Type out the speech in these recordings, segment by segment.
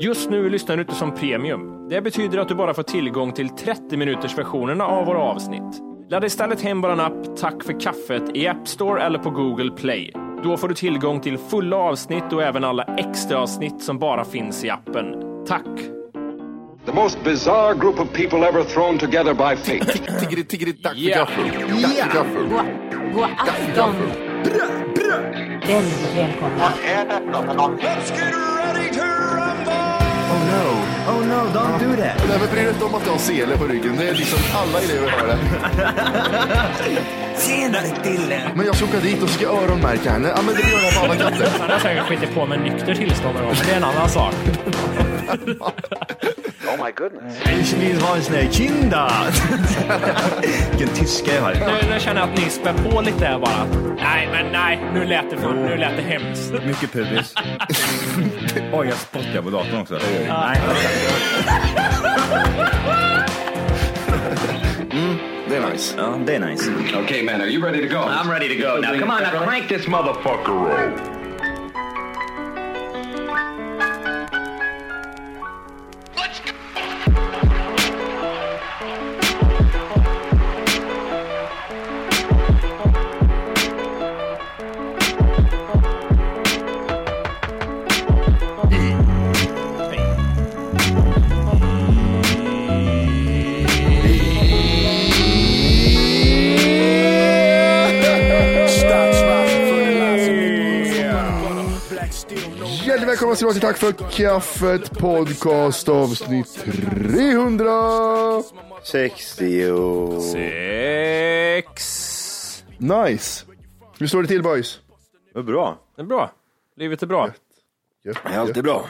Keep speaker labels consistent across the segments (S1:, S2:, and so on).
S1: Just nu lyssnar du inte som premium. Det betyder att du bara får tillgång till 30 minuters versionerna av våra avsnitt. Ladda istället hem vår app Tack för kaffet i App Store eller på Google Play. Då får du tillgång till fulla avsnitt och även alla extra avsnitt som bara finns i appen. Tack!
S2: The most bizarre group of people ever thrown together by fate.
S3: Tiggeri, tiggeri, tack för
S1: Yeah.
S3: gaffel. Tack för gaffel.
S4: God afton! Väldigt välkomna.
S5: Oh no, oh no, don't do that.
S3: Nej, men bry dig inte om att jag har sele på ryggen. Det är liksom alla elever har det.
S5: Tjenare Dille!
S3: Men jag ska åka dit och ska öronmärka henne. Ja, men det gör jag på alla katter.
S6: Han har säkert skitit på med nykter tillstånd någon gång, men det är en annan sak.
S5: Ich vill ha en sån här kinda! Vilken tyska jag har.
S6: Nu, nu känner jag att ni spär på lite här bara. Nej, men nej. Nu lät det, för, nu lät det hemskt.
S5: Mycket pubis. Oj, jag spottar på datorn också.
S3: Det är nice.
S5: Ja, det är nice.
S2: okay, man, are you ready to go?
S5: I'm ready to go. Now come on, now crank this motherfucker roll.
S3: Hjärtligt välkomna tillbaka till Tack för kaffet podcast avsnitt 300.
S5: 60.
S1: Sex!
S3: Nice. Hur står det till boys?
S5: Vad bra.
S1: Det är bra. Livet är bra.
S3: Gött,
S5: Det är alltid bra.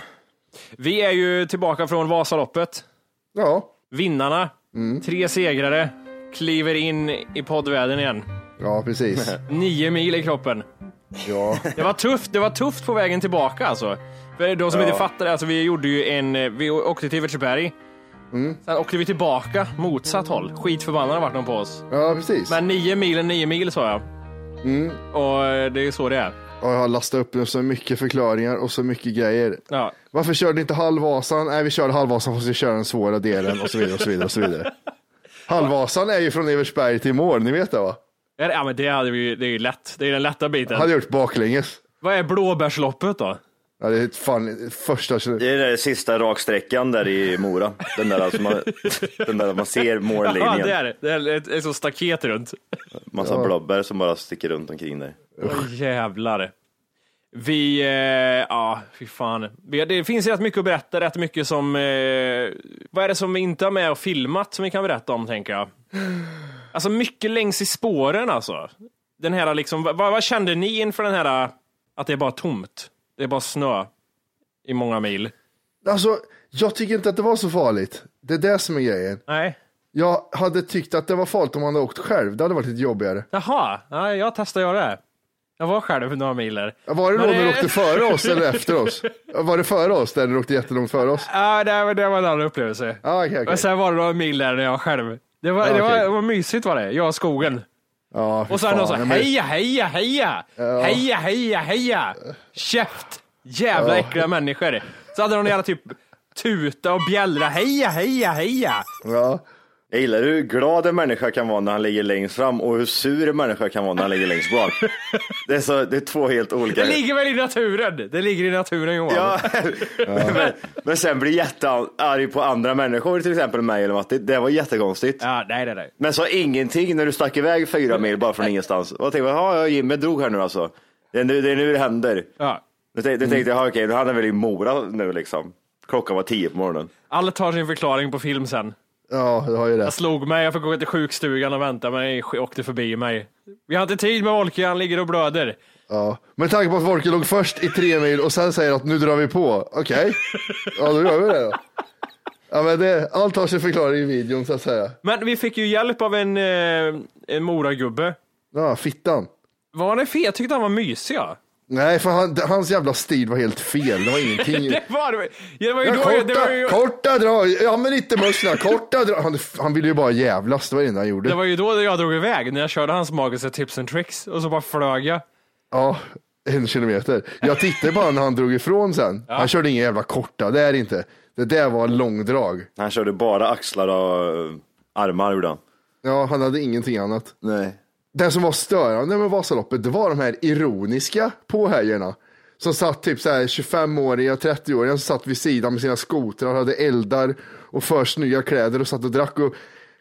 S1: Vi är ju tillbaka från Vasaloppet.
S3: Ja.
S1: Vinnarna,
S3: Mm.
S1: tre segrare, kliver in i poddvärlden igen.
S3: Ja, precis.
S1: Nio mil i kroppen.
S3: Ja.
S1: Det var tufft, det var tufft på vägen tillbaka alltså. För de som inte fattar, alltså vi gjorde ju en, eh, vi åkte till Evertsberg.
S3: Mm.
S1: Sen åkte vi tillbaka motsatt håll. Skitförbannade vart de på oss.
S3: ja, precis.
S1: Men nio mil är nio mil sa jag.
S3: Mm.
S1: Och eh, det är så det är.
S3: Ja, jag har lastat upp så mycket förklaringar och så mycket grejer.
S1: Ja.
S3: Varför körde ni inte halvvasan? Nej, vi körde halvvasan fast vi körde den svåra delen och så vidare och så vidare. Och så vidare. Halvvasan är ju från Eversberg till mål, ni vet det va?
S1: Är det- Ja men det, hade vi, ju- det är ju lätt. Det är den lätta biten.
S3: Hade jag gjort baklänges.
S1: Vad är blåbärsloppet då?
S3: Ja, det är fan första...
S7: Det är den där sista raksträckan där i Mora. Den där, alltså man, den där man ser
S1: Ja
S7: mållinjen.
S1: det är det. Det är ett, ett sånt staket runt.
S7: Massa blobbar som bara sticker runt omkring där.
S1: Åh, Jävlar. Vi, eh, ja, fy fan. Vi, det finns rätt mycket att berätta, rätt mycket som, eh, vad är det som vi inte har med och filmat som vi kan berätta om, tänker jag. Alltså mycket längs i spåren alltså. Den här liksom, vad, vad kände ni inför den här, att det är bara tomt? Det är bara snö i många mil.
S3: Alltså, jag tycker inte att det var så farligt. Det är det som är grejen.
S1: Nej.
S3: Jag hade tyckt att det var farligt om man hade åkt själv. Det hade varit lite jobbigare.
S1: Jaha, ja, jag testade att göra det. Jag var själv några mil där.
S3: Var det då
S1: Men
S3: när du
S1: det-
S3: åkte före oss eller efter oss? Var det före oss där du åkte jättelångt före oss?
S1: Ja, det, var- det var en annan upplevelse.
S3: Ah, okej, okej.
S1: Och sen var det några mil där när jag var själv. Det var,
S3: Ja,
S1: det var,
S3: okej.
S1: det var mysigt var det. Jag och skogen.
S3: Ja, fy
S1: Och sen någon
S3: fan.
S1: så här,
S3: Nej, men-
S1: heja, heja, heja! Heja, heja, heja! Käft! Jävla äckliga människor. Så hade de jävla typ tuta och bjällra, heja, heja, heja!
S3: Ja.
S7: Jag gillar hur glad en människa kan vara när han ligger längst fram och hur sur en människa kan vara när han ligger längst bak. Det är, så, det är två helt olika.
S1: Det ligger väl i naturen? Det ligger i naturen Johan.
S7: Ja. men, men sen blir jättearg på andra människor, till exempel mig eller Matti. Det var jättekonstigt.
S1: Ja, nej, nej, nej.
S7: Men sa ingenting när du stack iväg fyra mil bara från ingenstans. Och jag tänkte, ja, ja, Jimmy drog här nu alltså. Det är nu det, är nu det händer.
S1: Ja.
S7: Då tänkte då tänkte jag, ja, okej, då hade han väl i Mora nu liksom. Klockan var tio på morgonen.
S1: Allt har sin förklaring på film sen.
S3: Ja, du har ju det.
S1: Jag slog mig, jag fick gå till sjukstugan och vänta, men jag åkte förbi mig. Vi har inte tid med Volke, han ligger och blöder.
S3: Ja. Med tanke på att Volker låg först i tre mil och sen säger att nu drar vi på. Okej, ja då gör vi det då. Ja, men det, allt har sin förklaring i videon så att säga.
S1: Men vi fick ju hjälp av en, eh, en moragubbe.
S3: Ja, fittan.
S1: Var han fet? Jag tyckte han var mysig. Ja.
S3: Nej, för han, hans jävla stil var helt fel. Det var ingenting.
S1: Det var det. Det var ju
S3: Ja,
S1: då, det var ju,
S3: korta, korta drag, ja men inte musklerna, korta drag. Han, han ville ju bara jävlas, det var det enda han gjorde.
S1: det var ju då jag drog iväg, när jag körde hans magiska tips and tricks och så bara flög jag.
S3: Ja, en kilometer. Jag tittade på honom när han drog ifrån sen. Han körde inga jävla korta, det är det inte. Det där var långdrag.
S7: Han körde bara axlar och eh, armar gjorde han.
S3: Ja, han hade ingenting annat.
S7: Nej.
S3: Den som var störande med Vasaloppet, det var de här ironiska påhejarna. Som satt typ så här 25-åriga, 30-åringar som satt vid sidan med sina skotrar, hade eldar och för snygga kläder och satt och drack och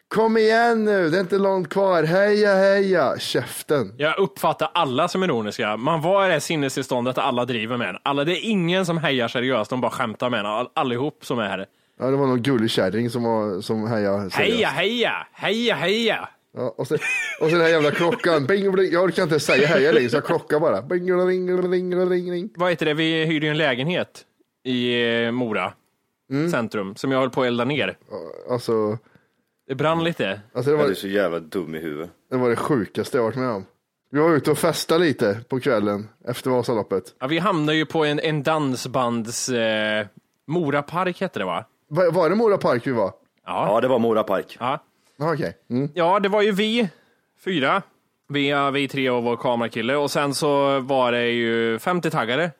S3: Kom igen nu, det är inte långt kvar, heja heja, käften.
S1: Jag uppfattar alla som ironiska. Man var i det här sinnestillståndet att alla driver med en. Alla, det är ingen som hejar seriöst, de bara skämtar med en. All- Allihop som är här.
S3: Ja, det var någon gullig kärring som, var, som hejade.
S1: Heja, heja, heja, heja.
S3: Ja, och, sen, och sen den här jävla klockan. Bing, bling. Jag orkar inte säga heja längre, så jag klockar bara. Bing, bling, bling, bling, bling, bling.
S1: Vad heter det? Vi hyrde ju en lägenhet i eh, Mora centrum som jag höll på att elda ner.
S3: Alltså,
S1: Det brann lite.
S3: alltså det,
S7: Ja, Du är
S3: var,
S7: så jävla dum i huvudet.
S3: det var det sjukaste jag varit med om. Vi var ute och festade lite på kvällen efter Vasaloppet.
S1: Ja, vi hamnade ju på en, en dansbands... Eh, Mora park hette det va?
S3: Var, var det Mora Park vi var?
S7: Ja, det var Mora Park.
S1: Ja.
S3: Ja, okej. Mm.
S1: Ja, det var ju vi fyra. Vi, ja, vi tre och vår kamerakille. Och sen så var det ju 50-taggare.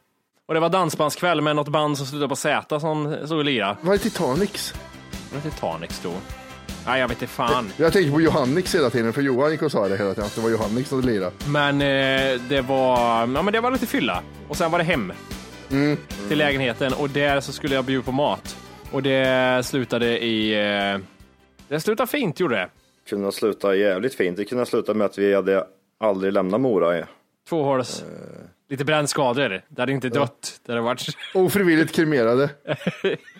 S1: Och det var dansbandskväll med något band som slutade på Z som stod och lirade.
S3: Var det Titanics?
S1: Var det Titanic stod? Nej, jag vet inte fan.
S3: Jag tänker på Johannix hela tiden, för Johan gick och sa det hela tiden, att det var Johannix som lirade.
S1: Men eh, det var ja, men det var lite fylla. Och sen var det hem. Till lägenheten och där så skulle jag bjuda på mat. Och det slutade i... Eh, det slutade fint gjorde det.
S7: Kunde ha slutat jävligt fint. Det kunde ha slutat med att vi hade aldrig lämnat Mora. ja.
S1: Två håls. Lite brännskador. Det hade inte dött. Det hade varit...
S3: Ofrivilligt kremerade.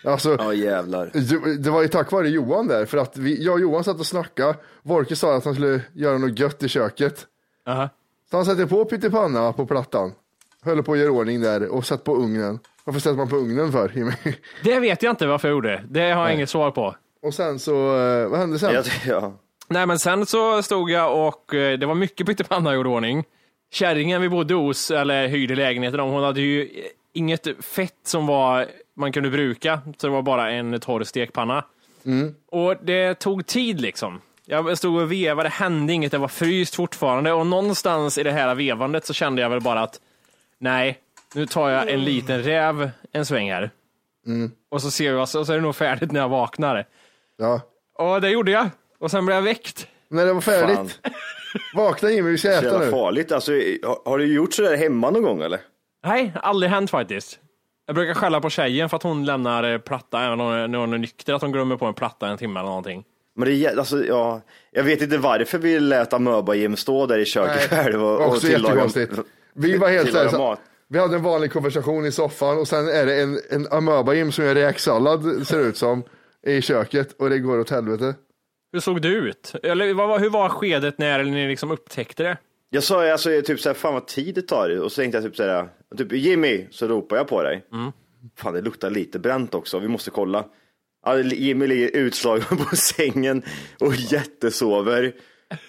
S3: Alltså,
S7: Ja jävlar.
S3: Det det var ju tack vare Johan där, för att vi, jag och Johan satt och snackade. Volke sa att han skulle göra något gött i köket.
S1: Aha.
S3: Så han sätter på pyttipanna på plattan. Höll på att göra ordning där och satt på ugnen. Varför sätter man på ugnen för? Jimmy?
S1: Det vet jag inte varför jag gjorde. Det har jag inget svar på.
S3: och sen så, eh, vad hände sen?
S7: Jag, ja.
S1: Nej, men sen så stod jag och eh, det var mycket pyttipanna jag gjorde i ordning. Kärringen vi bodde hos, eller hyrde lägenheten om, hon hade ju eh, inget fett som var, man kunde bruka, så det var bara en torr stekpanna. Och det tog tid liksom. Jag stod och vevade, det hände inget, det var fryst fortfarande och någonstans i det här vevandet så kände jag väl bara att nej, nu tar jag en liten räv en sväng här. Och så ser jag, så så är det nog färdigt när jag vaknar.
S3: Ja.
S1: Och det gjorde jag. Och sen blev jag väckt.
S3: När det var
S7: Fan,
S3: färdigt. Vakna Jimmy, vi ska
S7: så
S3: äta
S7: jävla
S3: nu.
S7: farligt. Alltså, har- har du gjort sådär hemma någon gång eller?
S1: Nej, aldrig hänt faktiskt. Jag brukar skälla på tjejen för att hon lämnar eh, platta även om hon- när hon är nykter, att hon glömmer på en platta en timme eller någonting.
S7: Men det, är jä- alltså, ja, jag vet inte varför vi lät Amöba-Jim stå där i köket
S3: Nej,
S7: själv och, och
S3: Också
S7: tillaga,
S3: jättekonstigt. Vi var helt
S7: tillaga
S3: såhär,
S7: mat.
S3: vi hade en vanlig konversation i soffan och sen är det en, en amöba som gör räksallad, ser det ut som, i köket och det går åt helvete.
S1: Hur såg det ut? Eller vad, var- hur var skedet när ni liksom upptäckte det?
S7: Jag sa ju, alltså, typ såhär, fan vad tid det tar. Och så tänkte jag typ såhär, typ, Jimmy, så ropar jag på dig.
S3: Mm.
S7: Fan det luktar lite bränt också, vi måste kolla. Ja, Jimmy ligger utslagen på sängen och jättesover.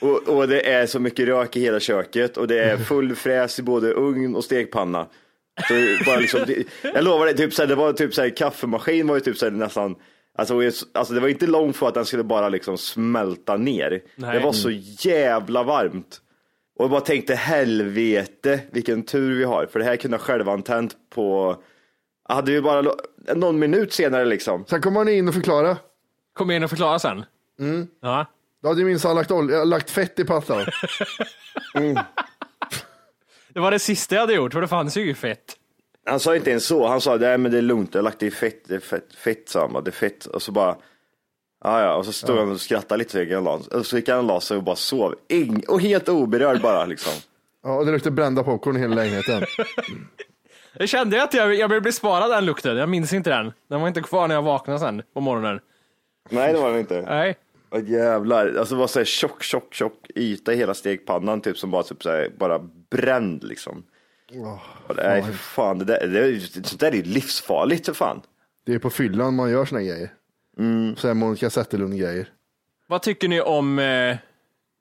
S7: Och, och det är så mycket rök i hela köket och det är full fräs i både ugn och stekpanna. Så det bara liksom, det, jag lovar dig, typ såhär, det var typ såhär, kaffemaskin var ju typ såhär, nästan, alltså, alltså det var inte långt för att den skulle bara liksom smälta ner.
S1: Nej.
S7: Det var så jävla varmt. Och jag bara tänkte helvete vilken tur vi har, för det här kunde jag själv ha tänt på, hade vi bara lo- någon minut senare liksom.
S3: Sen kommer han in och förklarar.
S1: Kom in och förklara sen.
S3: Mm.
S1: Ja.
S3: Då hade ju minsann lagt, olja- lagt fett i pattan.
S1: Det var det sista jag hade gjort, för det fanns ju inget fett.
S7: Han sa inte ens så, han sa nej men det är lugnt, jag har lagt i fett, det är fett, fett samma, det är fett. Och så bara, ja ja, och så stod han och skrattade lite så gick han och la- och så gick han och la sig och bara sov. Ing, och helt oberörd bara liksom.
S3: Ja, och det luktade brända popcorn i hela lägenheten.
S1: Jag kände ju att jag, jag blev besparad den lukten, jag minns inte den. Den var inte kvar när jag vaknade sen på morgonen.
S7: Nej det var han inte.
S1: Nej.
S7: Åh jävlar, alltså det var så här tjock, tjock, tjock yta i hela stegpannan typ som bara, typ, så här, bara bränd liksom. Och det- Nej för fan, det där, det, är- sånt där är ju livsfarligt för fan.
S3: Det är på fyllan man gör såna grejer.
S7: Mm.
S3: Så här Monica Zetterlund-grejer.
S1: Vad tycker ni om eh,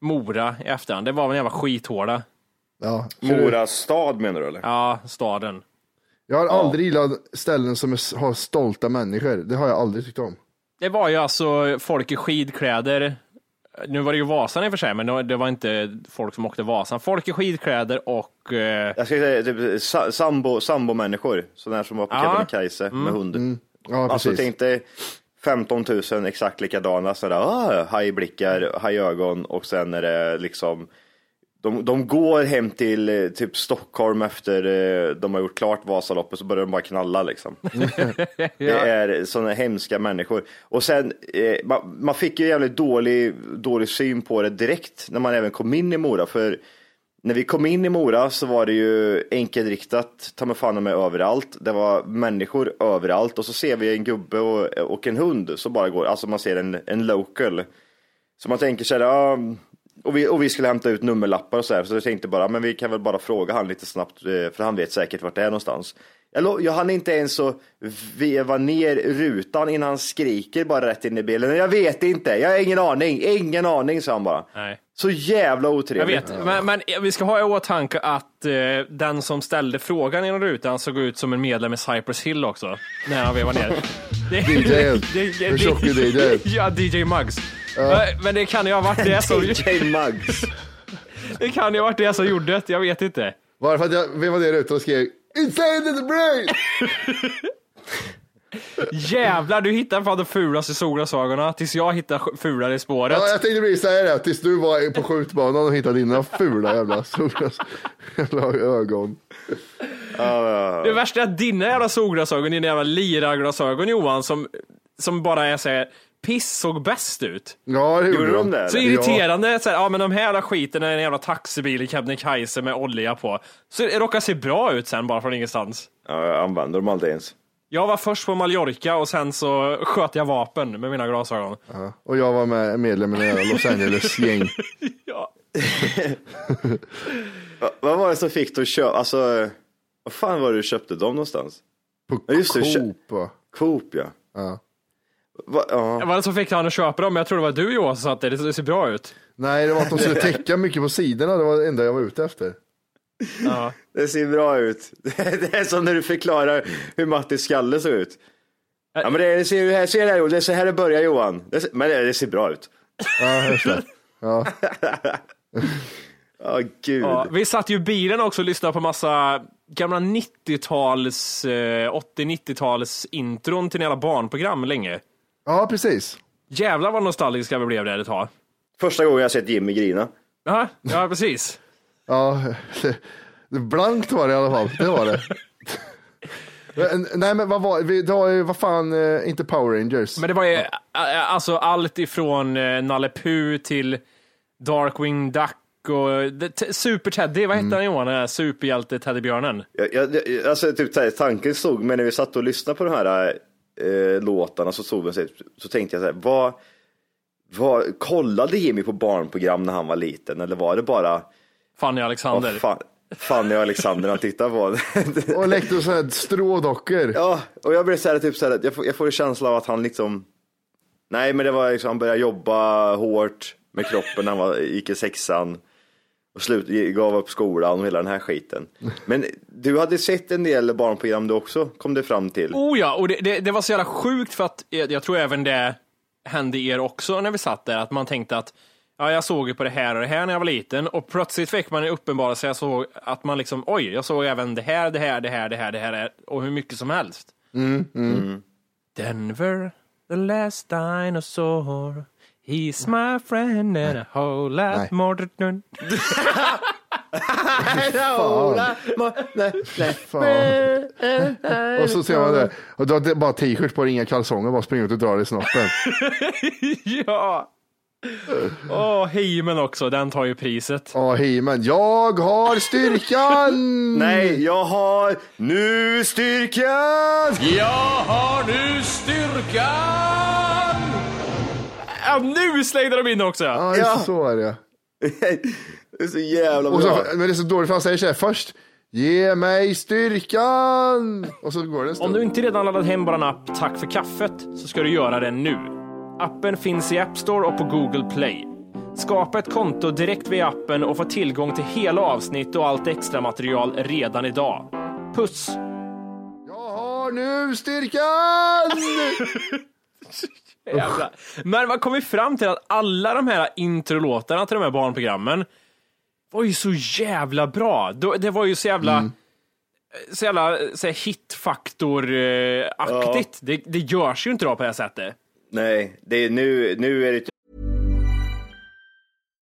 S1: Mora i efterhand? Det var väl en jävla skithåla.
S3: Ja.
S7: Mora stad menar du eller?
S1: Ja, staden.
S3: Jag har aldrig gillat ställen som är, s- har stolta människor. Det har jag aldrig tyckt om.
S1: Det var ju alltså folk i skidkläder. Nu var det ju Vasan i och för sig, men det var- det var inte folk som åkte Vasan. Folk i skidkläder och... Eh,
S7: Jag ska säga typ sa- sambo, sambo-människor, sådana här som var på
S1: Ja.
S7: Kebnekaise med hund.
S3: Ja,
S7: alltså
S3: precis.
S7: tänk dig 15 000 exakt likadana, sådär ah, hajblickar, hajögon och sen är det liksom de, de går hem till eh, typ Stockholm efter eh, de har gjort klart Vasaloppet så börjar de bara knalla liksom. Det är sådana hemska människor. Och sen, eh, man, man fick ju jävligt dålig, dålig syn på det direkt när man även kom in i Mora. För när vi kom in i Mora så var det ju enkelriktat, ta mig fan med överallt. Det var människor överallt och så ser vi en gubbe och, och en hund som bara går, alltså man ser en, en local. Så man tänker så här, ja, och, vi, och vi skulle hämta ut nummerlappar och så här, så jag tänkte bara, men vi kan väl bara fråga han lite snabbt, eh, för han vet säkert vart det är någonstans. Jag, lo- jag hann inte ens så veva ner rutan innan han skriker bara rätt in i bilen. Jag vet inte, jag har ingen aning, ingen aning sa han bara.
S1: nej.
S7: Så jävla
S1: Jag
S7: otrevligt.
S1: vet, men, men vi ska ha i åtanke att eh, den som ställde frågan genom rutan såg ut som en medlem i Cypress Hill också, när han vevade ner. Det,
S3: DJ'n. Den tjocke DJ'n.
S1: Ja, DJ Muggs. Eh, Men det kan ju ha varit det som,
S7: DJ Muggs.
S1: det kan ju ha varit det som gjorde det, jag vet inte.
S3: Bara för att jag vevade ner rutan och skrek Insane in the brain!
S1: Jävlar, du hittar fan de fulaste solglasögonen tills jag hittar fulare i spåret.
S3: Ja, jag tänkte precis säga det, tills du var på skjutbanan och hittade dina fula jävla, solglas- jävla ögon.
S1: Det värsta är att dina jävla solglasögon, dina jävla liraglasögon Johan, som, som bara är såhär, piss såg bäst ut.
S3: Ja, det
S7: Gjorde
S3: gjorde
S7: de
S3: de.
S7: det?
S1: Så
S7: eller?
S1: irriterande, såhär, ja men de här jävla skiten är en jävla taxibil i Kebnekaise med olja på. Så det råkar se bra ut sen bara från ingenstans.
S7: Ja, jag använder dem aldrig ens.
S1: Jag var först på Mallorca och sen så sköt jag vapen med mina glasögon.
S3: Och jag var med medlem i det här Los Angeles-gäng.
S1: Ja.
S7: Va- Vad var det som fick dig att köpa, alltså, eh, vad fan var det du köpte dem någonstans?
S3: På
S7: Ja, just det,
S3: Coop. va?
S7: Coop ja.
S3: Ja.
S7: Va, ja.
S1: Det var det som fick han att köpa dem, men jag tror det var du Johan som sa att det, det ser bra ut.
S3: Nej, det var att de skulle täcka mycket på sidorna. Det var det enda jag var ute efter.
S1: Ja.
S7: Det ser bra ut. Det är som när du förklarar hur Mattis skalle såg ut. Ja men det ser ju här, ser det här, det är så här det börjar Johan. Det ser, men det, det ser bra ut.
S3: Ja, just det.
S7: Ja gud.
S1: Ja, vi satt ju i bilen också och lyssnade på massa gamla 90-tals, eh, 80-90-tals intron till hela barnprogram länge.
S3: Ja, precis.
S1: Jävlar vad nostalgiska vi blev där ett tag.
S7: Första gången jag har sett Jimmy grina.
S1: Ja, ja precis.
S3: Ja, det- det- blankt var det i alla fall. Det var det. Men, Nej, men vad var vi- det? var ju- Vad fan, eh, inte Power Rangers.
S1: Men det var ju a- a- alltså allt ifrån eh, Nalle Puh till Darkwing Duck och det- t- Super Teddy, vad hette han Johan, den här superhjälte-teddybjörnen?
S7: Jag, jag, jag- alltså typ så här, tanken slog mig när vi satt och lyssnade på de här eh, låtarna så, slog sig, så tänkte jag så här, vad, vad, kollade Jimmy på barnprogram när han var liten eller var det bara
S1: Fanny
S7: vad
S1: Alexander.
S7: fan, Fanny och Alexander han tittade på?
S3: Och lekte så här strådockor.
S7: ja, och jag blev så här, typ så här, jag får, jag får en känsla av att han liksom, nej men det var liksom, han började jobba hårt med kroppen när han var, gick i sexan. och slut, gav upp skolan och hela den här skiten. Men du hade sett en del barnprogram du också, kom det fram till.
S1: Oh ja, och det, det, det var så jävla sjukt för att eh, jag tror även det hände er också när vi satt där, att man tänkte att ja, jag såg ju på det här och det här när jag var liten och plötsligt fick man en uppenbarelse, jag såg att man liksom, oj, jag såg även det här, det här, det här, det här, det här och hur mycket som helst. Denver, the last dinosaur, He's my friend and a whole lot
S3: Nej.
S1: more. to- dun.
S3: Fan. Och så ser man det. Och du har bara t-shirt på dig, inga kalsonger, bara springer ut och drar i snoppen.
S1: ja! Åh, He-Man också, den tar ju priset.
S3: Ja, He-Man. Jag har styrkan!
S7: Nej, jag har nu styrkan!
S6: Jag har nu styrkan!
S1: Ja, nu slängde de in också!
S3: Ja, det är så är det.
S7: Det är så jävla
S3: Och så,
S7: bra.
S3: men det är så dåligt för han säger så här först. Ge mig styrkan! Och så går det en
S1: Om
S3: stund.
S1: du inte redan laddat hem bara en app Tack för kaffet så ska du göra det nu. Appen finns i App Store och på Google Play. Skapa ett konto direkt via appen och få tillgång till hela avsnitt och allt extra material redan idag. Puss!
S3: Jag har nu styrkan!
S1: Jävlar. Men man kommer fram till att alla de här introlåtarna till de här barnprogrammen var ju så jävla bra. Då- Det var ju så jävla,
S7: Mm.
S1: så jävla så här hitfaktor-aktigt. Det, det görs ju inte då på det här sättet.
S7: Typ Nej, det är, nu, nu är det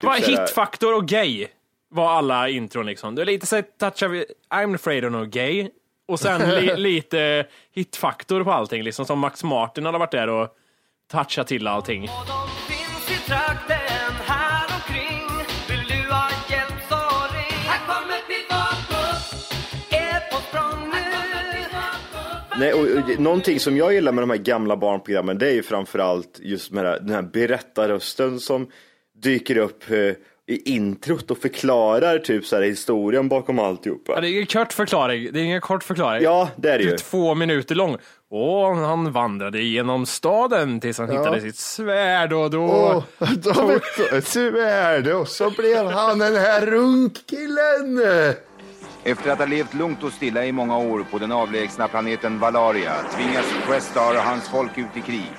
S1: Det var
S7: så här-
S1: hitfaktor och gay var alla intron liksom. Det är lite så här touch av I'm afraid of no gay och sen li, lite hitfaktor på allting liksom som Max Martin hade varit där och touchat till allting.
S4: Finns i trakten här omkring Vill du ha hjälp så ring Här kommer privatbuss Är på språng nu
S7: Nej, och, och, någonting som jag gillar med de här gamla barnprogrammen det är ju framförallt just med det här- den här berättarrösten som dyker upp eh, i introt och förklarar typ så här historien bakom
S1: Ja,
S7: alltihopa.
S1: det är en kort förklaring. Det är ingen kort förklaring.
S7: Ja, det är det
S1: Det
S7: ju.
S1: är två minuter lång. Och han vandrade genom staden tills han hittade sitt svärd och då...
S3: Och då vet du, så är det. Och så blev han den här runkkillen.
S8: Efter att ha levt lugnt och stilla i många år på den avlägsna planeten Valaria tvingas Questar och hans folk ut i krig.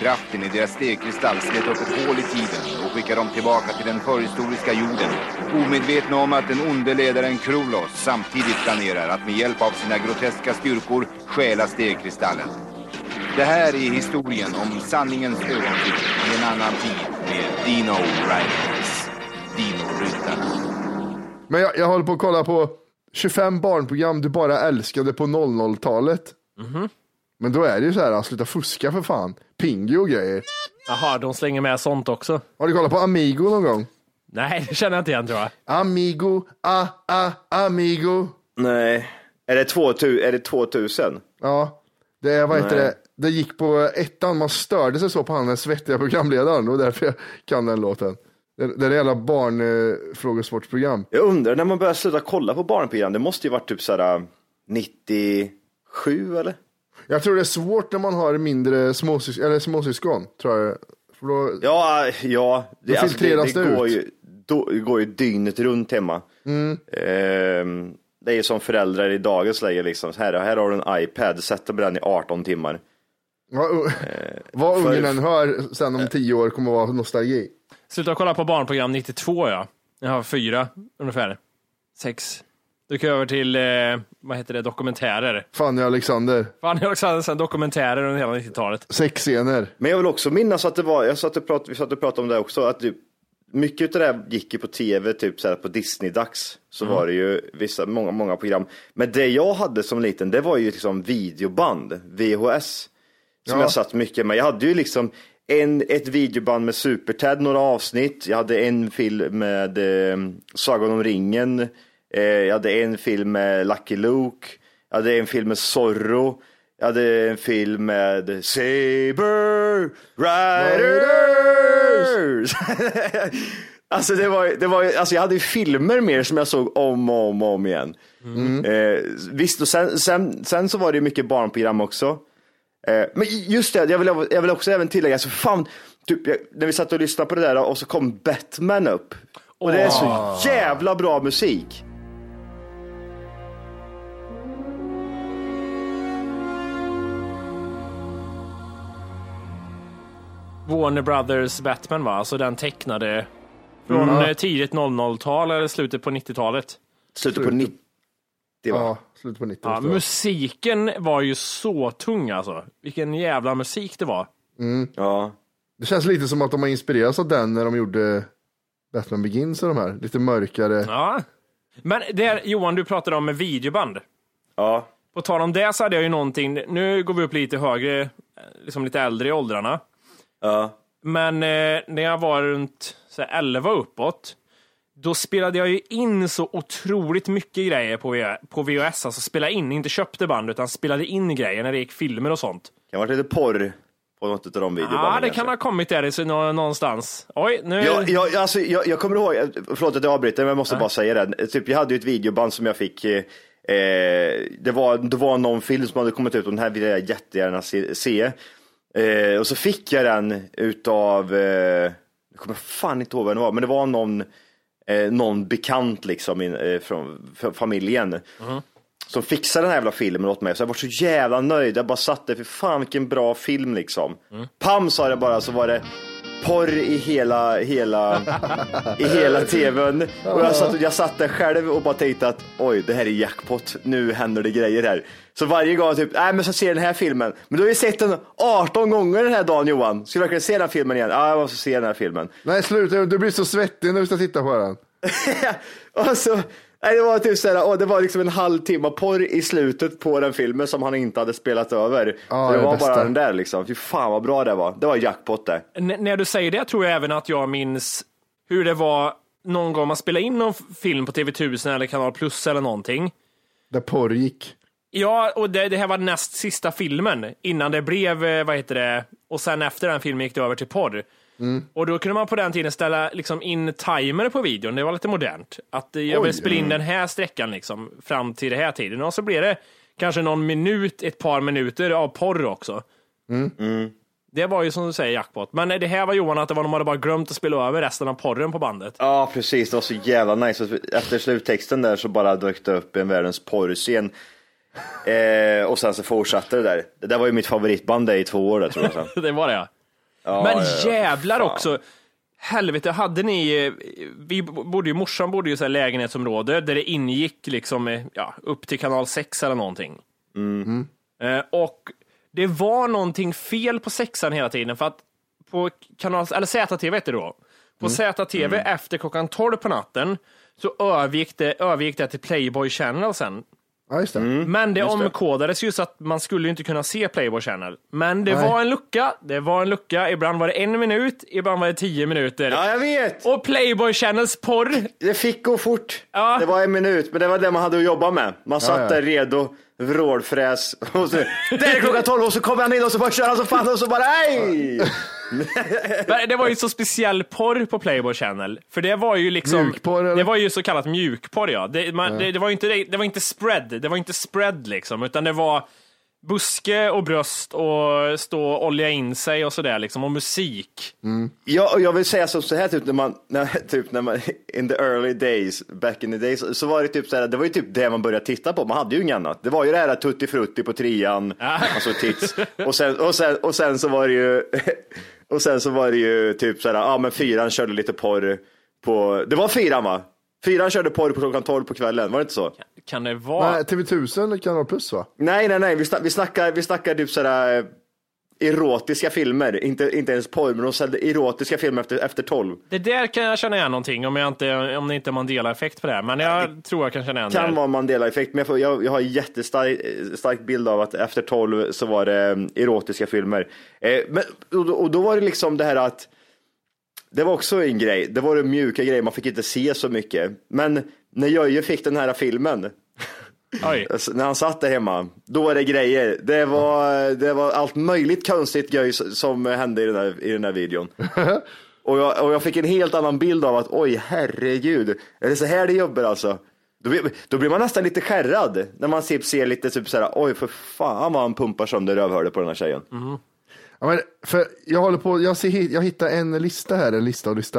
S8: Kraften i deras stekristall slet upp ett hål i tiden och skickar dem tillbaka till den förhistoriska jorden. Omedvetna om att den onde ledaren Krolos samtidigt planerar att med hjälp av sina groteska styrkor stjäla stegkristallen. Det här är historien om sanningens ögonblick i en annan tid med Dino Riders. Dino-ryttarna.
S3: Men jag, jag håller på att kolla på 25 barnprogram du bara älskade på 00-talet. Mhm. Men då är det ju så här, sluta fuska för fan. Pingu och grejer.
S1: Jaha, de slänger med sånt också.
S3: Har du kollat på Amigo någon gång?
S1: Nej, det känner jag inte igen tror jag.
S3: Amigo, ah, ah, amigo.
S7: Nej. Är det, 2000, är det 2000?
S3: Ja, det är, vad heter det? Det gick på ettan, man störde sig så på han den svettiga programledaren och därför jag kan den låten. Det det är ett jävla eh, barnfrågesportprogram.
S7: Jag undrar när man började sluta kolla på barnprogram. Det måste ju varit typ så här 97 eller?
S3: Jag tror det är svårt när man har mindre småsys eller småsyskon, tror jag. För då,
S7: Ja, ja. Det,
S3: Då filtreras
S7: det,
S3: det
S7: går,
S3: ut. Mm.
S7: ju, då, det går ju dygnet runt hemma. Ehm, det är ju som föräldrar i dagens läge, liksom. här, här har du en iPad, sätt dig på den i 18 timmar.
S3: vad, u- vad
S7: för-
S3: ungen än hör sen om tio år kommer vara nostalgi.
S1: Sluta kolla på barnprogram 92 ja. Jag har fyra ungefär. Sex. Du går över till, eh, vad heter det, dokumentärer.
S3: Fanny och Alexander,
S1: Fan, jag också hade sen dokumentärer under hela 90-talet.
S3: sexscener.
S7: Men jag vill också minnas att det var, jag satt och prat, vi satt och pratade om det också, att typ, mycket av det här gick ju på tv, typ så här på Disney-dags, så
S3: Mm.
S7: var det ju vissa, många, många program. Men det jag hade som liten, det var ju liksom videoband, VHS. Som
S3: Ja.
S7: jag satt mycket med. Jag hade ju liksom en, ett videoband med Super-Ted, några avsnitt. Jag hade en film med eh, Sagan om ringen. Eh, jag hade en film med Lucky Luke. Jag hade en film med Zorro. Jag hade en film med Saber Riders. alltså det var, det var, alltså jag hade ju filmer mer som jag såg om och om, och om igen. Eh, visst, och sen, sen, sen så var det ju mycket barnprogram också. Eh, men just det, jag vill, jag vill också även tillägga, alltså fan, typ, jag, när vi satt och lyssnade på det där och så kom Batman upp. Och det är så
S3: Åh.
S7: jävla bra musik.
S1: Warner Brothers Batman va? Alltså den tecknade från
S3: Mm.
S1: eh, tidigt 00-tal eller slutet på 90-talet.
S7: Slutet på 90
S3: Ja, slutet på 90
S1: Ja,
S3: måste det vara.
S1: musiken var ju så tung alltså. Vilken jävla musik det var.
S7: Ja.
S3: Det känns lite som att de har inspirerats av den när de gjorde Batman Begins och de här. Lite mörkare.
S1: Ja. Men det Johan, du pratade om med videoband.
S7: Ja.
S1: På tal om det så hade jag ju någonting, nu går vi upp lite högre, liksom lite äldre i åldrarna.
S7: Ja.
S1: Men eh, när jag var runt så här, 11 uppåt, då spelade jag ju in så otroligt mycket grejer på, V- på VHS. Alltså spela in, inte köpte band, utan spelade in grejer när det gick filmer och sånt.
S7: Kan ha varit lite porr på något av de videobanden.
S1: Ja, det
S7: kanske.
S1: kan ha kommit där i så- nå- någonstans. Oj, nu...
S7: Jag, jag, alltså, jag, jag kommer ihåg, förlåt att jag avbryter, men jag måste bara säga det. Typ, jag hade ju ett videoband som jag fick, eh, eh, det, var, det var någon film som hade kommit ut och den här vill jag jättegärna se. se. Eh, och så fick jag den utav, eh, jag kommer fan inte ihåg vem det var, men det var någon, eh, någon bekant liksom in, eh, från f- familjen. Som fixade den här jävla filmen åt mig, så jag var så jävla nöjd. Jag bara satt där, för fan vilken bra film liksom. Pam sa det bara, så var det porr i hela, hela, i hela tvn. Och jag satt, jag satt där själv och bara tänkte att oj, det här är jackpot. Nu händer det grejer här. Så varje gång typ, nej men så ser jag den här filmen. Men du har ju sett den 18 gånger den här dagen Johan. Ska du verkligen se den här filmen igen? Ja, jag måste se den här filmen.
S3: Nej, sluta. Du blir så svettig när du ska titta på den.
S7: Och så, nej, det var typ såhär, åh, det var liksom en halvtimme porr i slutet på den filmen som han inte hade spelat över.
S3: Ja,
S7: så det,
S3: det
S7: var
S3: bästa.
S7: bara den där liksom. Fy fan vad bra det var. Det var jackpot det.
S1: N- när du säger det tror jag även att jag minns hur det var någon gång man spelade in någon f- film på TV1000 eller Kanal Plus eller någonting.
S3: Där porr gick.
S1: Ja, och det, det här var näst sista filmen innan det blev, eh, vad heter det, och sen efter den filmen gick det över till porr. Och då kunde man på den tiden ställa liksom in timer på videon, det var lite modernt. Att eh, jag
S3: Oj.
S1: vill spela in den här sträckan liksom, fram till den här tiden. Och så blir det kanske någon minut, ett par minuter av porr också. Det var ju som du säger jackpot. Men eh, det här var Johan, att det var de hade bara glömt att spela över resten av porren på bandet.
S7: Ja precis, det var så jävla nice. Efter sluttexten där så bara dök det upp en världens porrscen. Eh, och sen så fortsatte det där. Det där var ju mitt favoritband där i två år där, tror jag. Sen.
S1: det var det ja.
S7: Ja,
S1: Men
S7: ja, ja.
S1: jävlar
S7: Fan.
S1: också. Helvete, hade ni, eh, vi bodde ju, morsan bodde ju i så här lägenhetsområde där det ingick liksom, eh, ja, upp till kanal 6 eller någonting.
S7: Mm-hmm.
S1: Eh, och det var någonting fel på sexan hela tiden för att på kanal, eller ZTV heter det då. På
S7: Mm.
S1: ZTV efter klockan 12 på natten så övergick det, övergick det till Playboy Channel sen.
S3: Ja, just det.
S1: Men det
S7: det.
S1: omkodades ju så att man skulle ju inte kunna se Playboy Channel. Men det
S3: Nej.
S1: var en lucka, det var en lucka. Ibland var det en minut, ibland var det tio minuter.
S7: Ja, jag vet!
S1: Och Playboy Channels porr.
S7: Det fick gå fort.
S1: Ja.
S7: Det var en minut, men det var det man hade att jobba med. Man satt
S3: ja.
S7: där redo, vrålfräs. Och så, där är klockan tolv och så kommer han in och så bara kör han så fan och så bara hej!
S1: Men Det var ju så speciell porr på Playboy Channel. För det var ju liksom...
S3: Mjukporr, eller?
S1: Det var ju så kallat mjukporr ja. Det, man, det, det, var ju inte, det, det var inte spread, det var inte spread liksom. Utan det var buske och bröst och stå och olja in sig och sådär liksom. Och musik.
S7: Ja, och jag vill säga som så här, typ när man, när, typ när man, in the early days, back in the days, så var det typ så här, det var ju typ det man började titta på, man hade ju inget annat. Det var ju det här Tutti Frutti på trean, alltså tits, och sen, och, sen, och sen så var det ju, och sen så var det ju typ så här, ja men fyran körde lite porr på, det var fyran va? Fyran körde porr på klockan tolv på kvällen, var det inte så?
S1: Kan det vara...
S3: Nej, TV1000 eller Kanal Plus va?
S7: Nej, nej, nej, vi, snack, vi snackar, vi snackar typ sådär erotiska filmer, inte, inte ens porr, men de sålde erotiska filmer efter, efter tolv.
S1: Det där kan jag känna igen någonting om, jag inte, om det inte är Mandela-effekt på det här. Men jag tror jag kan känna igen
S7: kan
S1: det.
S7: vara en Mandela-effekt, men jag, får, jag, jag har en jättestark eh, stark bild av att efter 12 så var det mm, erotiska filmer. Eh, men, och, då- och då var det liksom det här att det var också en grej, det var en mjuka grej, man fick inte se så mycket. Men när Jöje fick den här filmen, alltså, när han satt där hemma, då var det grejer. Det var, det var allt möjligt konstigt göj s- som hände i den här, i den här videon. Och jag, och jag fick en helt annan bild av att oj herregud, är det så här det jobbar alltså? Då blir, då blir man nästan lite skärrad när man typ ser lite typ såhär, oj för fan vad han pumpar sönder rövhålet på den här tjejen.
S3: Ja, men för jag håller på, jag, ser, jag hittar en lista här, en lista och lista.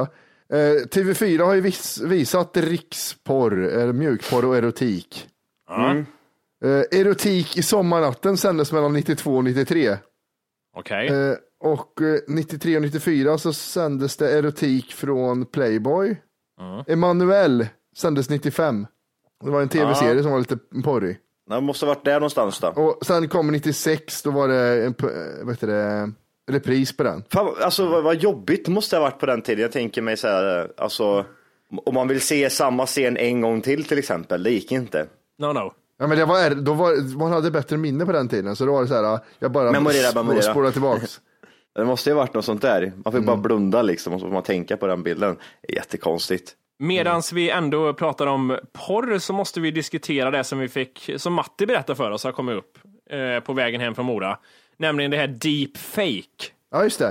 S3: Eh, TV4 har ju vis, visat riksporr, eh, mjukporr och erotik.
S1: Mm.
S3: Eh, erotik i sommarnatten sändes mellan 92 och 93.
S1: Okej.
S3: Eh, och eh, 93 och 94 så sändes det erotik från Playboy. Emanuel sändes 95. Det var en tv-serie
S7: Ah.
S3: som var lite porrig.
S7: Det måste ha varit där någonstans då.
S3: Och sen kom 96, då var det en p- vad heter det, repris på den.
S7: Fan, alltså vad, vad jobbigt det måste ha varit på den tiden. Jag tänker mig såhär, alltså om man vill se samma scen en gång till till exempel, det gick inte.
S1: No, no.
S3: Ja, men det var, då var, man hade bättre minne på den tiden, så då var det så här, jag bara
S7: Memorera,
S3: sp-
S7: memorera.
S3: spolade tillbaks.
S7: Det måste ju ha varit något sånt där. Man fick bara blunda liksom och så får man tänka på den bilden. Det är Jättekonstigt.
S1: Medan vi ändå pratar om porr så måste vi diskutera det som vi fick, som Matti berättade för oss har kommit upp eh, på vägen hem från Mora. Nämligen det här deepfake.
S3: Ja, just det.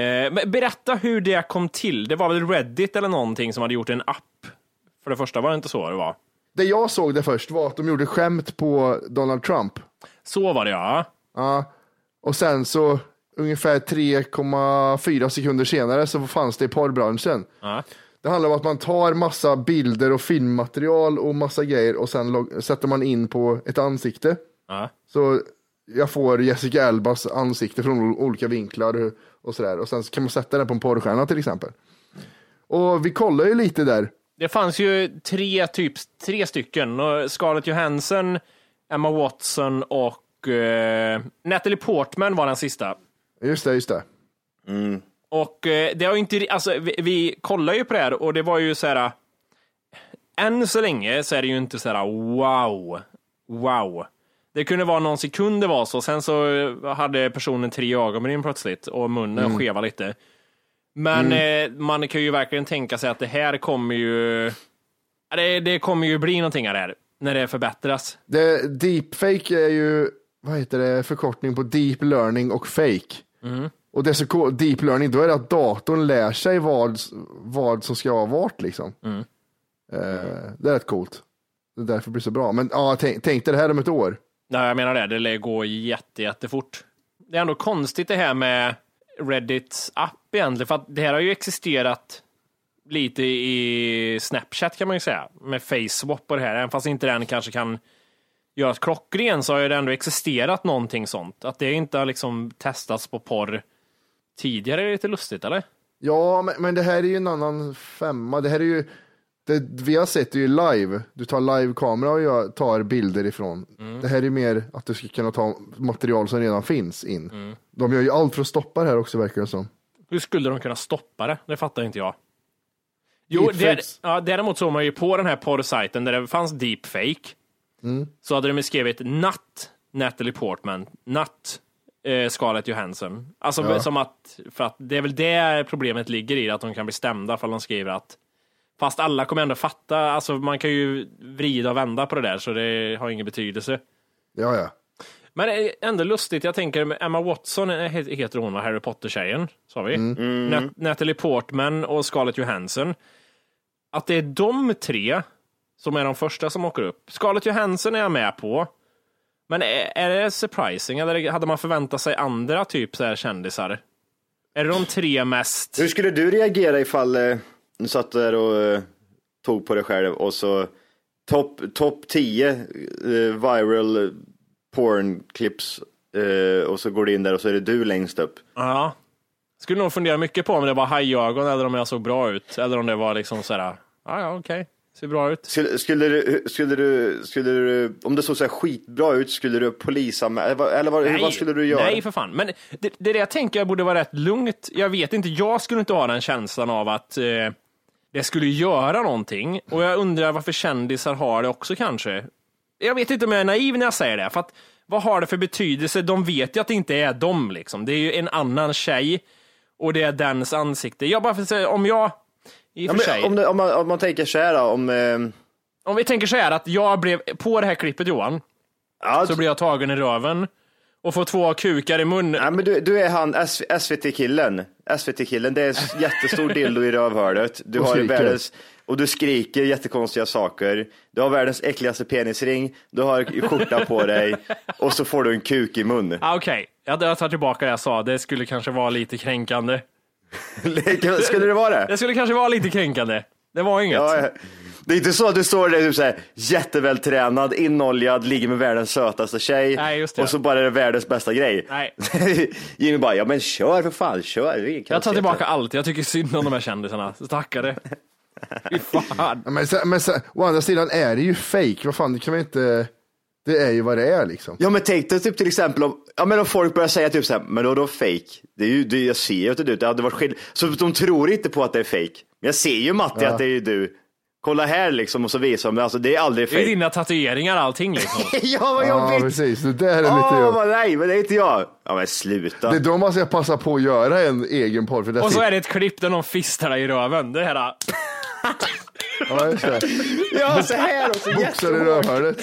S1: Eh, men berätta hur det kom till. Det var väl Reddit eller någonting som hade gjort en app? För det första var det inte så det var.
S3: Det jag såg det först var att de gjorde skämt på Donald Trump.
S1: Så var det ja.
S3: Ja, och sen så ungefär 3,4 sekunder senare så fanns det i porrbranschen.
S1: Ja.
S3: Det handlar om att man tar massa bilder och filmmaterial och massa grejer och sen log- sätter man in på ett ansikte.
S1: Ja.
S3: Så jag får Jessica Albas ansikte från ol- olika vinklar och sådär. Och sen så kan man sätta den på en porrstjärna till exempel. Och vi kollar ju lite där.
S1: Det fanns ju tre, typ, tre stycken. Och Scarlett Johansson, Emma Watson och eh, Natalie Portman var den sista.
S3: Just det, just det.
S1: Och eh, det har ju inte, alltså vi, vi kollar ju på det här och det var ju så här. äh, Än så länge så är det ju inte så här eh, wow, wow. Det kunde vara någon sekund det var så, sen så eh, hade personen tre ögonbryn plötsligt och munnen
S6: Mm.
S1: skeva lite. Men eh, man kan ju verkligen tänka sig att det här kommer ju, Ja, det, det kommer ju bli någonting av det här, när det förbättras.
S3: det. Deepfake är ju, vad heter det, förkortning på deep learning och fake. Och det är så ko- deep learning, då är det att datorn lär sig vad, vad som ska vara vart liksom. Eh, det är rätt coolt. Det är därför det blir så bra. Men ja, tänk, tänk dig det här om ett år.
S1: Nej, jag menar det. Det lär gå jätte, jättefort. Det är ändå konstigt det här med Reddits app egentligen, för att det här har ju existerat lite i Snapchat kan man ju säga, med FaceSwap och det här. Även fast inte den kanske kan göras klockren så har ju det ändå existerat någonting sånt. Att det inte har liksom testats på porr tidigare är lite lustigt, eller?
S3: Ja, men, men det här är ju en annan femma. Det här är ju, det, vi har sett det ju live. Du tar live-kamera och jag tar bilder ifrån. Det här är ju mer att du ska kunna ta material som redan finns in. De gör ju allt för att stoppa det här också verkar det som.
S1: Hur skulle de kunna stoppa det? Det fattar inte jag. Jo, där,
S3: Deepfakes.
S1: ja, däremot såg man ju på den här porrsajten där det fanns deepfake,
S3: Mm.
S1: så hade de skrivit natt Natalie Portman, natt eh, Scarlett Johansson. Alltså
S6: Ja.
S1: som att, för att det är väl det problemet ligger i, att de kan bli stämda för de skriver att Fast alla kommer ändå fatta, alltså man kan ju vrida och vända på det där så det har ingen betydelse.
S3: Ja, ja.
S1: Men det är ändå lustigt, jag tänker Emma Watson eh, he- heter hon, va? Harry Potter-tjejen, sa vi.
S6: Mm. Mm.
S1: Nat- Natalie Portman och Scarlett Johansson. Att det är de tre som är de första som åker upp. Scarlett Johansson är jag med på. Men är, är det surprising, eller hade man förväntat sig andra typ så här kändisar? Är det de tre mest
S7: Hur skulle du reagera ifall eh, du satt där och eh, tog på dig själv och så topp top 10 eh, viral eh, porn clips eh, och så går du in där och så är det du längst upp.
S1: Ja. Skulle nog fundera mycket på om det var hajögon eller om jag såg bra ut. Eller om det var liksom såhär, ja ja okej. Ser bra ut.
S7: Skulle, skulle, du, skulle, du, skulle du, om det såg så här skitbra ut, skulle du polisanmäla, eller, vad- eller vad, hur- vad skulle du göra?
S1: Nej, för fan. Men det, det är det jag tänker borde vara rätt lugnt. Jag vet inte, jag skulle inte ha den känslan av att eh, det skulle göra någonting. Och jag undrar varför kändisar har det också kanske. Jag vet inte om jag är naiv när jag säger det, för att vad har det för betydelse? De vet ju att det inte är dem liksom. Det är ju en annan tjej och det är dens ansikte. Jag bara för att säga, om jag, i och
S7: ja,
S1: för sig.
S7: men, om, det, om, man, om man tänker så här då, om... Eh,
S1: Om vi tänker så här att jag blev, på det här klippet Johan,
S7: Alltså-
S1: så blir jag tagen i röven och får två kukar i munnen.
S7: nej, men du, du är han SV- SVT-killen. SVT-killen, det är en jättestor dildo i rövhålet. Du
S3: Och
S7: har
S3: skriker.
S7: världens... Och du skriker jättekonstiga saker. Du har världens äckligaste penisring. Du har skjorta på dig. Och så får du en kuk i mun.
S1: Ah, Okej, jag, jag tar tillbaka det jag sa. Det skulle kanske vara lite kränkande.
S7: Skulle det vara det?
S1: Det skulle kanske vara lite kränkande. Det var inget.
S7: Ja, ja. det är inte så att du står där typ så här, jättevältränad, inoljad, ligger med världens sötaste tjej
S1: Nej, just det.
S7: och så bara är det världens bästa grej.
S1: Nej.
S7: Jimmy bara, ja men kör för fan, kör. Det är ingen
S1: Jag tar
S7: katastrof.
S1: tillbaka allt. Jag tycker synd om de här kändisarna. Stackare. Fy fan.
S3: Ja, Men, sen, men sen, å andra sidan är det ju fake. Vad fan, det kan man inte... Det är ju vad det är liksom.
S7: Ja men tänk dig typ till exempel om, ja, men om folk börjar säga typ så här, men då, då fake. Det är ju, det, jag ser ju att det är du, det hade varit skill- Så de tror inte på att det är fake. Men jag ser ju Matti
S3: Ja.
S7: att det är ju du. Kolla här liksom och så visar de, alltså det är aldrig
S1: Det är
S7: fake.
S1: dina tatueringar allting liksom.
S7: ja vad
S3: Ja,
S7: jobbigt!
S3: precis. Det där är
S7: Åh
S3: inte jag.
S7: vad nej, men det är inte jag. Ja men sluta.
S3: Det är då man ska passa på att göra en egen porr. För där
S1: Och så
S3: sitter-
S1: är det ett klipp där någon fistar dig i röven. Det här.
S3: Ja, just det.
S7: Ja, så här och så
S3: Boxar i rövhålet.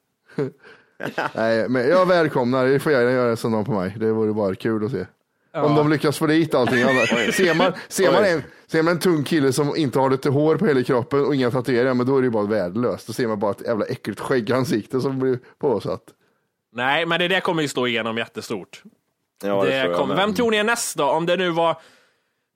S3: Nej, men jag välkomnar. Ni får gärna göra en sån dag på mig. Det vore bara kul att se. Om de lyckas få dit allting. annars- ser, man, ser, man
S7: Oj.
S3: en, ser man en tung kille som inte har lite hår på hela kroppen och inga tatueringar, men då är det ju bara värdelöst. Då ser man bara ett jävla äckligt skäggansikte som blir påsatt.
S1: Nej, men det där kommer ju slå igenom jättestort.
S7: Ja,
S1: det
S7: tror jag
S1: kommer.
S7: med.
S1: Vem tror ni är nästa? Om det nu var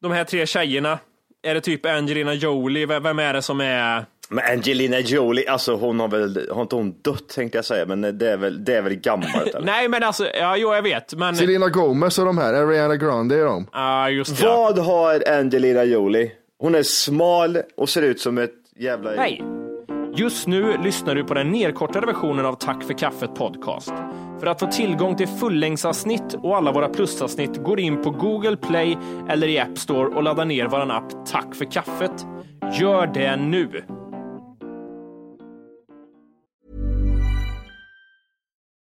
S1: de här tre tjejerna. Är det typ Angelina Jolie? V- Vem är det som är...
S7: Men Angelina Jolie, alltså hon har väl, har inte hon dött tänkte jag säga, men det är väl, det är väl gammalt eller?
S1: Nej, men alltså, ja, jo, jag vet, men...
S3: Selena Gomez och de här, Ariana Grande är de.
S1: Ja, just det.
S7: Vad har Angelina Jolie? Hon är smal och ser ut som ett jävla...
S1: Hej! Just nu lyssnar du på den nedkortade versionen av Tack för kaffet podcast. För att få tillgång till fullängdsavsnitt och alla våra plusavsnitt går in på Google Play eller i App Store och laddar ner vår app Tack för kaffet. Gör det nu!